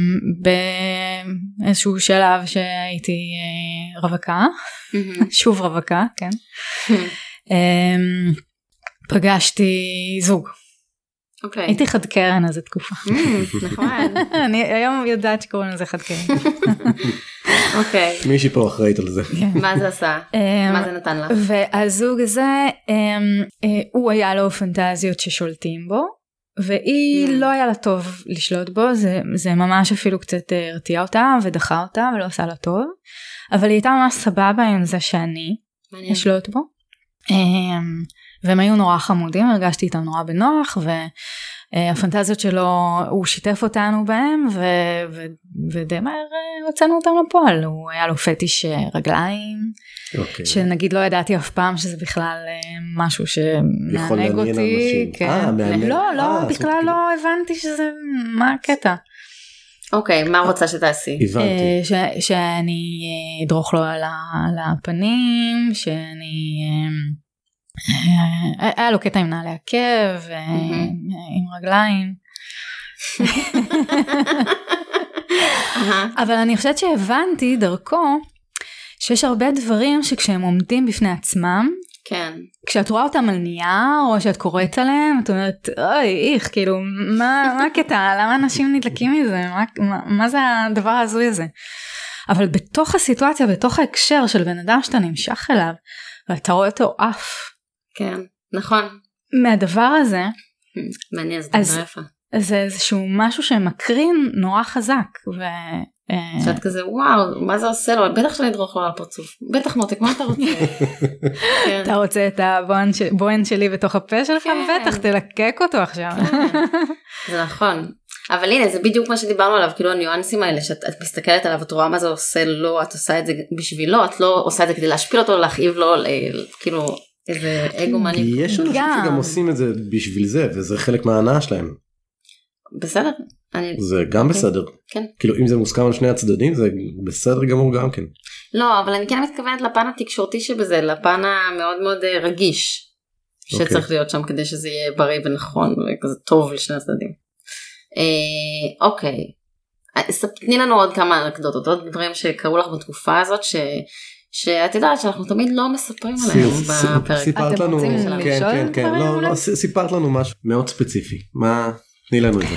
באיזשהו שלב שהייתי אה, רווקה,
מהמם.
שוב רווקה, כן, um, פגשתי זוג,
אוקיי.
הייתי חד קרן אז התקופה.
מהמם, נכון. נחמד.
אה, אני היום יודעת שקוראים לזה חד קרן.
אוקיי.
מישהי פה אחראית על זה.
מה זה עשה?
אה,
מה זה נתן לך?
והזוג הזה, אמ, אה, הוא היה לו פנטזיות ששולטים בו, והיא
Mm.
לא היה לה טוב לשלוט בו, זה- זה ממש אפילו קצת אה, הרתיע אותה ודחה אותה ולא עשה לה טוב, אבל היא הייתה ממש סבבה עם זה שאני
מעניין.
אשלוט בו. אמ, והם היו נורא חמודים, הרגשתי איתם נורא בנוח, והפנטזיות שלו, הוא שיתף אותנו בהם, ו, ו, ודי מהר אה, הוצאנו אותם לפועל. הוא היה לו פטיש אה, רגליים,
אוקיי.
שנגיד לא ידעתי אף פעם שזה בכלל אה, משהו
יכול
שמענג
לעניין
אותי.
אנשים. אה, מענג.
לא,
אה,
לא,
זאת
בכלל
כאילו-
לא הבנתי שזה, מה הקטע?
אוקיי, מה רוצה שתעשי?
הבנתי.
אה, ש- שאני אה, אדרוך לו על ה- על הפנים, שאני... אה, אה, היה לו קטע עם נעלי עקב, אה,
מהמם.
עם רגליים.
אהה.
אבל אני חושבת שהבנתי דרכו שיש הרבה דברים שכשהם עומדים בפני עצמם,
כן.
כשאת רואה אותם על נייר או שאת קוראת עליהם את אומרת אוי איך כאילו מה, מה הקטע למה אנשים נדלקים מזה מה, מה, מה זה הדבר ההזוי הזה. אבל בתוך הסיטואציה בתוך ההקשר של בן אדם שאתה נמשך אליו ואתה רואה אותו עף
כן. נכון.
מהדבר הזה
מעניין, זאת
אז-
נורא יפה.
זה איזשהו משהו שמקרין נורא חזק. ו... אה,
שאת כזה וואו, מה זה עושה לו? בטח שאני אדרוך לו על הפרצוף. בטח מותק, מה אתה רוצה? כן.
אתה רוצה את הבוהן ש- בוהן שלי בתוך הפה שלך?
כן.
בטח, תלקק אותו עכשיו.
זה נכון. אבל הנה זה בדיוק מה שדיברנו עליו כאילו הניואנסים האלה שאת את מסתכלת עליו את רואה מה זה עושה לו את עושה את זה בשבילו את לא עושה את זה כדי להשפיל אותו להכאיב לו ל- כאילו איזה אגו
כי
מניאק.
יש אנשים
גם.
שגם עושים את זה בשביל זה וזה חלק מההנאה שלהם
בסדר. אני
זה גם בסדר
כן.
כאילו אם זה מוסכם על שני הצדדים זה בסדר גמור גם כן
לא אבל אני כן מתכוונת לפן התקשורתי שבזה לפן המאוד מאוד אה, רגיש. שצריך להיות שם כדי שזה יהיה בריא ונכון וכזה טוב לשני הצדדים. אה, אוקיי. אה, ספ- תני לנו עוד כמה אנקדוטות עוד דברים שקרו לך בתקופה הזאת ש... שאת יודעת שאנחנו תמיד לא מספרים עליהם
סי- סי-
בפרק.
סיפרת
אתם
לנו
רוצים
כן
לשאול
כן כן
דברים
לא
אולי?
לא ס- סיפרת לנו משהו מאוד ספציפי מה תני לנו את זה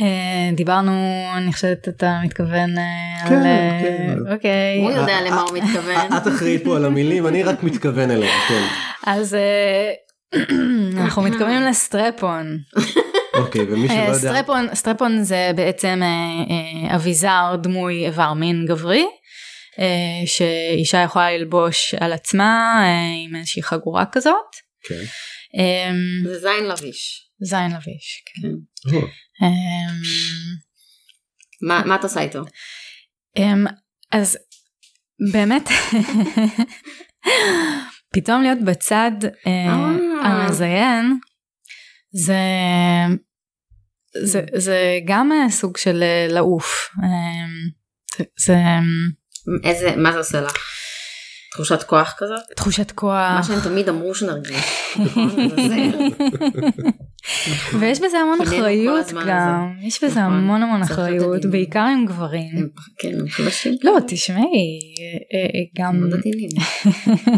אה, דיברנו, אני חושבת אתה מתכוון אה, על...
כן,
אה,
כן.
אוקיי.
הוא יודע למה הוא מתכוון.
את אחראית פה על המילים אני רק מתכוון אליהם כן
אז אה, אנחנו מתכוונים לסטרפון.
אוקיי ומי שלא
אה,
יודע
סטרפון, סטרפון זה בעצם אה, אה, אביזר דמוי איבר מין גברי, אה, שאישה יכולה ללבוש על עצמה אה, עם איזושהי חגורה כזאת.
כן.
אמ,
זה זין לביש.
זין לביש, כן.
או,
אמ,
מה מה את עושה איתו?
אמ, אז באמת, פתאום להיות בצד אה,
אה.
המזיין, זה, זה, זה גם אה, סוג של אה, לעוף. אמ, זה- זה אמ,
איזה, מה זה עושה לך? תחושת כוח כזאת?
תחושת
מה
כוח,
שהם תמיד אמרו שנרגיש. נכון? זה זה.
ויש בזה המון
קיווינו כל
אחריות
הזמן
גם, יש בזה
נכון,
המון המון
צריך להיות
אחריות,
עדינים.
בעיקר עם גברים.
הם פח- כן, הם חדשים. לא
לא, תשמעי, אה, אה, גם...
מאוד עדינים.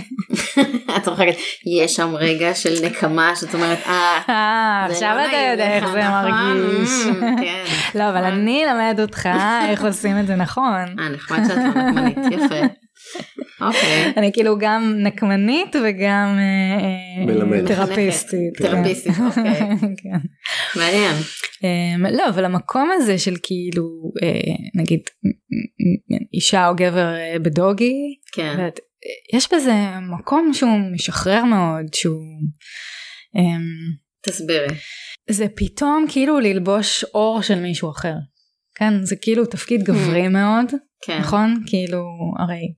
את צוחקת. יש שם רגע של נקמה שאת אומרת, אה,
אה,
זה
עכשיו
לא
אתה
נעים
יודע
לך,
איך זה
נכון?
מרגיש.
Mm, כן.
לא, אבל
נכון.
אני אלמד אותך איך עושים את זה נכון.
אה, נחמד שאת לא נקמנית, יפה. אוקיי.
אני כאילו גם נקמנית וגם אה, אה,
מלמד.
תרפיסטית.
מחנכת. תרפיסטית, אוקיי.
כן.
מעניין.
אמ, לא, אבל המקום הזה של כאילו, אה, נגיד, מ- מ- מ- אישה או גבר אה, בדוגי,
כן.
ואת, אה, יש בזה מקום שהוא משחרר מאוד, שהוא... אמ,
תסבירי.
זה פתאום כאילו ללבוש אור של מישהו אחר. כן, זה כאילו תפקיד גברי מאוד,
Mm. כן.
נכון? כאילו, הרי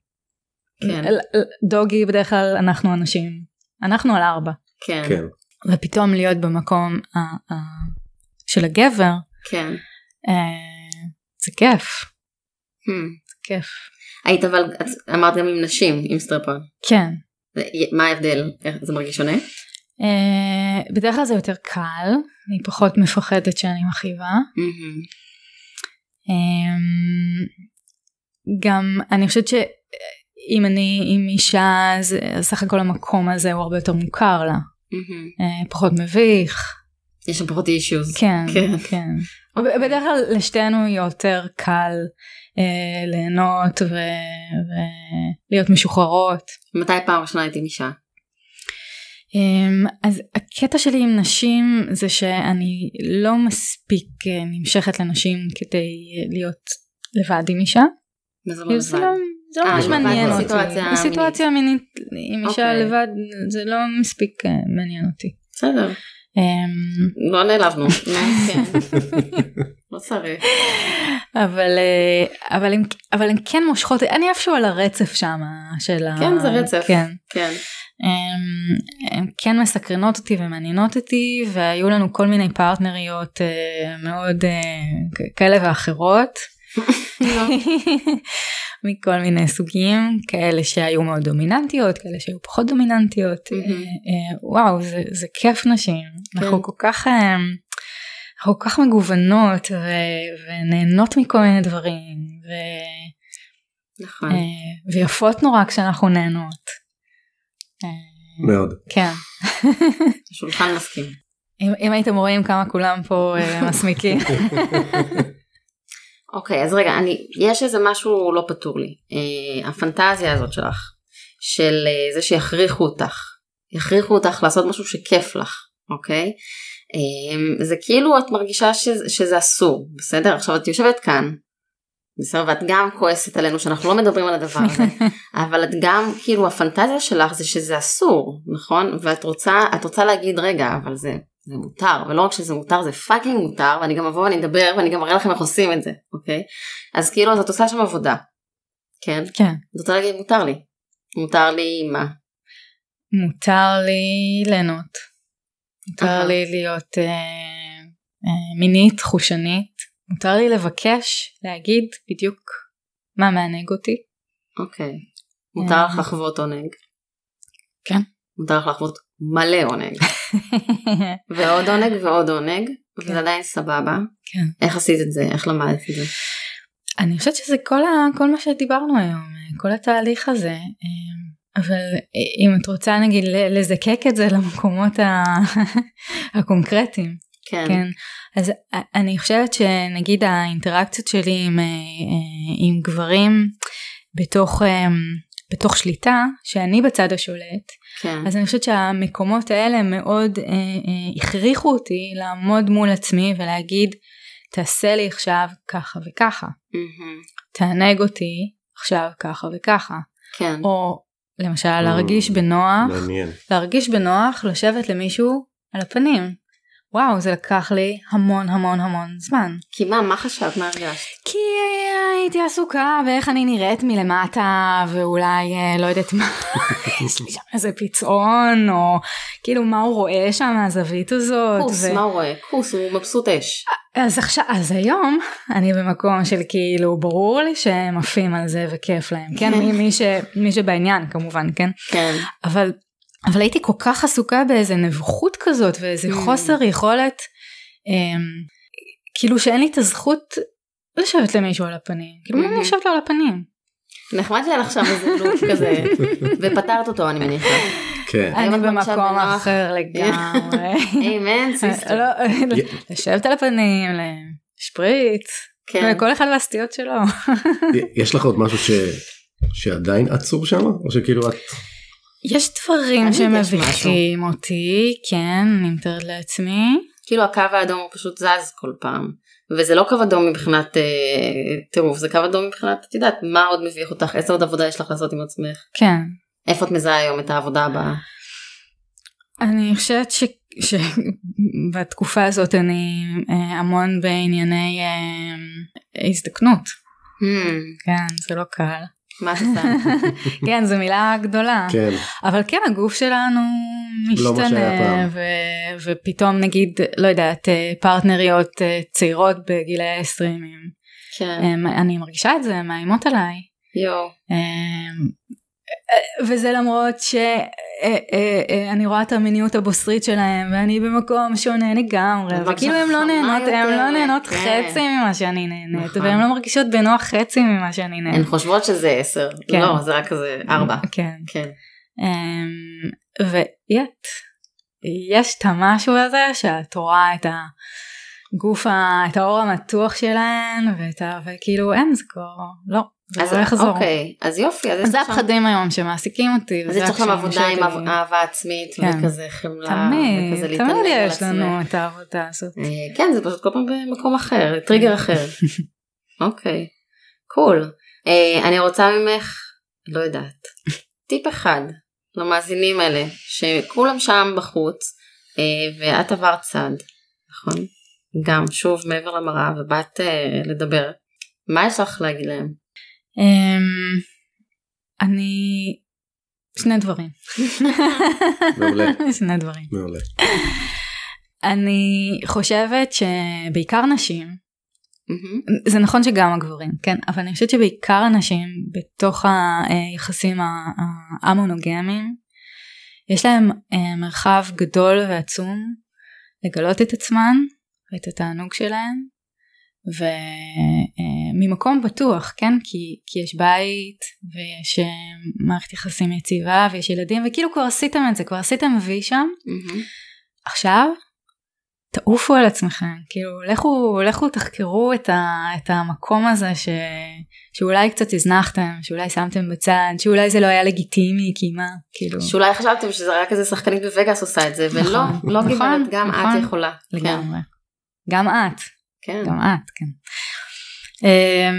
כן.
אל- אל- דוגי בדרך כלל אנחנו אנשים, אנחנו על ארבע,
כן.
כן.
ופתאום להיות במקום ה- ה- של הגבר,
כן.
אה, זה כיף,
Hmm.
זה כיף.
היית אבל, את אמרת גם עם נשים, עם סטרפון.
כן,
זה- מה ההבדל? איך- זה מרגיש שונה?
אה, בדרך כלל זה יותר קל, אני פחות מפחדת שאני מכאיבה. Mm-hmm.
מהמם.
אמ, גם אני חושבת שאם אני עם אישה אז אז סך הכל המקום הזה הוא הרבה יותר מוכר לה,
מהמם.
אה, פחות מביך,
יש שם פחות אישיוז.
כן,
כן.
כן. ב- בדרך כלל לשתינו יותר קל אה, ליהנות ולהיות משוחררות.
מתי פעם ראשונה הייתי עם אישה?
אמ, אז הקטע שלי עם נשים זה שאני לא מספיק אה, נמשכת לנשים כדי אה, להיות לבד עם אישה.
מה זה לא
כאילו, זה
לבד?
לא זה לא
אה,
ממש
לבד
מעניין אותי.
בסיטואציה המינית.
בסיטואציה המינית עם אישה
אוקיי.
לבד זה לא מספיק אה, מעניין אותי.
בסדר.
אמ,
לא נעלבנו. נו, כן. לא צריך.
אבל אה, אבל הם אבל הם כן מושכות אני איפשהו על הרצף שם של ה...
כן, זה רצף.
כן.
כן.
הם, הם כן מסקרנות אותי ומעניינות אותי והיו לנו כל מיני פרטנריות אה, מאוד אה, כ- כאלה ואחרות. מכל מיני סוגים כאלה שהיו מאוד דומיננטיות כאלה שהיו פחות דומיננטיות
מהמם. כן.
אה, אה, וואו זה, זה כיף נשים אנחנו כל כך אה, אנחנו כל כך מגוונות ו- ונהנות מכל מיני דברים ו-
נכון.
אה, ויפות נורא כשאנחנו נהנות. אה,
מאוד.
כן.
השולחן מסכים.
אם, אם הייתם רואים כמה כולם פה אה, מסמיקים.
אוקיי, אז רגע, אני, יש איזה משהו לא פתור לי. אה, הפנטזיה הזאת שלך, של אה, זה שיכריחו אותך, יכריחו אותך לעשות משהו שכיף לך, אוקיי? אה, זה כאילו את מרגישה שזה, שזה אסור, בסדר? עכשיו את יושבת כאן, בסדר? ואת גם כועסת עלינו שאנחנו לא מדברים על הדבר הזה, אבל את גם, כאילו, הפנטזיה שלך זה שזה אסור, נכון? ואת רוצה, את רוצה להגיד, רגע, אבל זה... זה מותר, ולא רק שזה מותר, זה פאקינג מותר, ואני גם אבוא ואני אדבר, ואני גם אראה לכם איך עושים את זה, אוקיי? אז כאילו, אז את עושה שם עבודה, כן?
כן.
את רוצה להגיד, מותר לי. מותר לי מה?
מותר לי ליהנות. מותר
אהה.
לי להיות אה, אה, מינית, חושנית. מותר לי לבקש, להגיד בדיוק מה מענג אותי.
אוקיי. מותר לך לחוות עונג.
אה. כן.
מותר לך לחוות מלא עונג. ועוד עונג ועוד עונג,
כן.
וזה עדיין סבבה.
כן.
איך עשית את זה? איך למדת את זה?
אני חושבת שזה כל, ה, כל מה שדיברנו היום, אה, כל התהליך הזה. אה, אבל אה, אם את רוצה נגיד ל- לזקק את זה למקומות ה- הקונקרטיים,
כן.
כן. אז א- אני חושבת שנגיד האינטראקציות שלי עם, אה, אה, עם גברים בתוך, אה, בתוך שליטה, שאני בצד השולט,
כן.
אז אני חושבת שהמקומות האלה מאוד אה, אה, הכריחו אותי לעמוד מול עצמי ולהגיד, תעשה לי עכשיו ככה וככה,
מהמם.
תענג אותי עכשיו ככה וככה,
כן.
או למשל להרגיש בנוח,
מעניין.
להרגיש בנוח לשבת למישהו על הפנים. וואו זה לקח לי המון המון המון זמן.
כי מה, מה חשבת? מה הרגשת?
כי אה, הייתי עסוקה באיך אני נראית מלמטה ואולי אה, לא יודעת מה, יש לי שם איזה פצעון או כאילו מה הוא רואה שם מהזווית הזאת.
כוס,
ו-
מה הוא רואה? כוס, הוא מבסוט אש.
אז עכשיו, אז היום אני במקום של כאילו ברור לי שהם עפים על זה וכיף להם, כן? מי, מי, ש, מי שבעניין כמובן, כן?
כן.
אבל, אבל הייתי כל כך עסוקה באיזה נבוכות כזאת ואיזה
Mm.
חוסר יכולת, אמ, כאילו שאין לי את הזכות לשבת למישהו על הפנים. כאילו, מה אני
Mhm.
יושבת לו על הפנים?
נחמד שהיה לך שם איזה לוק כזה, ופתרת אותו אני מניחה.
כן.
היום
אני
את מרגישה
במקום
בנוח.
אחר לגמרי.
אמן, סיסטר.
לא, לשבת על הפנים, לשפריץ,
כן.
כל אחד והסטיות שלו.
יש לך עוד משהו ש... שעדיין עצור שם או שכאילו את
יש
תמיד
דברים
יש
שמביכים אותי, כן, אני מתארת לעצמי.
כאילו הקו האדום הוא פשוט זז כל פעם. וזה לא קו אדום מבחינת אה, טירוף, זה קו אדום מבחינת, את יודעת, מה עוד מביך אותך, איזה עוד עבודה יש לך לעשות עם עצמך,
כן.
איפה את מזהה היום את העבודה הבאה.
אני חושבת שבתקופה הזאת אני אה, המון בענייני אה, הזדקנות. כן, זה לא קל.
מה את עושה?
כן, זו מילה גדולה.
כן
אבל כן, הגוף שלנו
לא מה שהיה
משתנה,
פעם.
ו- ופתאום נגיד, לא יודעת, אה, פרטנריות אה, צעירות בגילי ה-20,
כן.
אה, אני מרגישה את זה, הן מאיימות עליי.
יואו.
אמ, וזה למרות אה, שאני אה, רואה את המיניות הבוסרית שלהם ואני במקום שונה לגמרי
אבל
וכאילו הן לא
חכמה
נהנות הן לא
יותר,
נהנות
כן.
חצי ממה שאני נהנית
נכון.
והן לא מרגישות בנוח חצי ממה שאני
הן
נהנית.
חושבות שזה עשר.
אה. כן.
לא, זה רק כזה ארבע.
כן.
כן.
אמ, ויט, יש את המשהו הזה שאת רואה את הגוף, ה- את האור המתוח שלהן ואת ה... וכאילו אין זה כבר לא. זה
אז
לא יחזור.
אוקיי, אז יופי, אז יש
זה
לך שם-
הפחדים היום שמעסיקים אותי.
אז
וזה
יש לך שם
הקשיים
עבודה
שלי.
עם אהבה- אהבה עצמית
כן.
וכזה חמלה
תמיד,
וכזה להתעלל
תמיד
על
יש לנו
עצמך.
את העבודה הזאת.
אה, כן, זה פשוט כל פעם במקום אחר, טריגר אחר. אוקיי, קול. אה, אני רוצה ממך, לא יודעת, טיפ אחד למאזינים האלה, שכולם שם בחוץ, אה, ואת עברת צד, נכון? גם שוב מעבר למראה, ובאת אה, לדבר. מה יש לך להגיד להם?
אמ, אני... שני דברים.
מעולה.
שני דברים.
מעולה
אני חושבת שבעיקר נשים,
מהמם.
זה נכון שגם הגברים, כן, אבל אני חושבת שבעיקר הנשים בתוך היחסים ה- ה- המונוגמיים, יש להם אה, מרחב גדול ועצום לגלות את עצמן ואת התענוג שלהן, וממקום בטוח, כן, כי, כי יש בית ויש אה, מערכת יחסים יציבה ויש ילדים, וכאילו כבר עשיתם את זה, כבר עשיתם וי שם,
מהמם.
עכשיו תעופו על עצמכם כאילו לכו לכו תחקרו את, ה, את המקום הזה ש, שאולי קצת הזנחתם שאולי שמתם בצד שאולי זה לא היה לגיטימי כי מה כאילו
שאולי חשבתם שזה רק איזה שחקנית בווגאס עושה את זה, ולא,
נכון,
לא
נכון,
גברת, גם
נכון.
את יכולה.
לגמרי גם את
כן, כן.
גם את כן. אמ,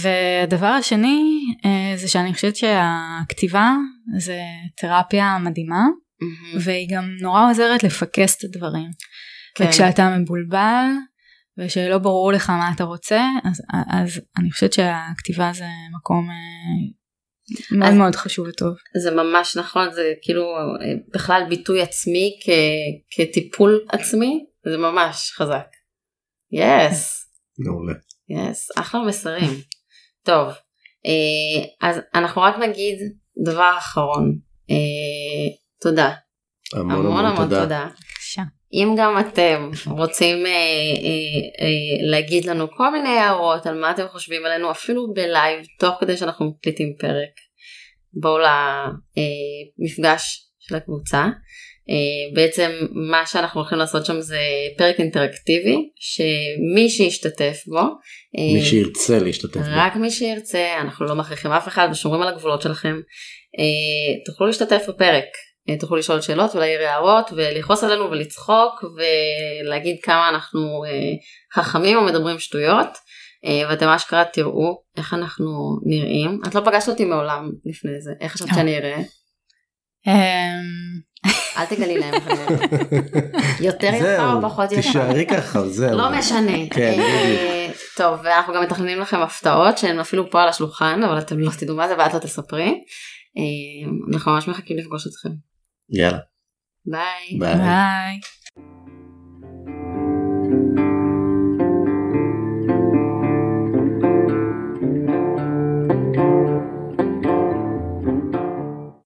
והדבר השני אה, זה שאני חושבת שהכתיבה זה תרפיה מדהימה
מהמם.
והיא גם נורא עוזרת לפקס את הדברים.
כן.
כן. וכשאתה מבולבל ושלא ברור לך מה אתה רוצה אז, אז אני חושבת שהכתיבה זה מקום אה, מאוד
אז-
מאוד חשוב וטוב.
זה ממש נכון זה כאילו אה, בכלל ביטוי עצמי כ, כטיפול עצמי זה ממש חזק. יס
מעולה
יס אחלה מסרים. טוב אה, אז אנחנו רק נגיד דבר אחרון אה, תודה
המון המון תודה
בבקשה.
אם גם אתם רוצים אה, אה, אה, להגיד לנו כל מיני הערות על מה אתם חושבים עלינו אפילו בלייב תוך כדי שאנחנו מקליטים פרק בואו למפגש של הקבוצה. אה, בעצם מה שאנחנו הולכים לעשות שם זה פרק אינטראקטיבי שמי שישתתף בו אה,
מי שירצה להשתתף בה.
רק מי שירצה, אנחנו לא מכריחים אף אחד ושומרים על הגבולות שלכם. אה, תוכלו להשתתף בפרק, אה, תוכלו לשאול שאלות ולהעיר הערות ולכעוס עלינו ולצחוק ולהגיד כמה אנחנו אה, חכמים או מדברים שטויות.
אה, ואתם אשכרה תראו איך אנחנו נראים. את לא פגשת אותי מעולם לפני זה, איך חשבת שאני אראה?
אמ,
אל תגלי להם איך אני נראית. יותר יפה או פחות יפה.
תישארי ככה, זהו.
לא משנה.
כן,
אה, טוב, ואנחנו גם מתכננים לכם הפתעות שהן אפילו פה על השולחן, אבל אתם לא תדעו מה זה ואת לא תספרי. אה, אנחנו ממש מחכים לפגוש אתכם.
יאללה,
ביי.
ביי.
ביי.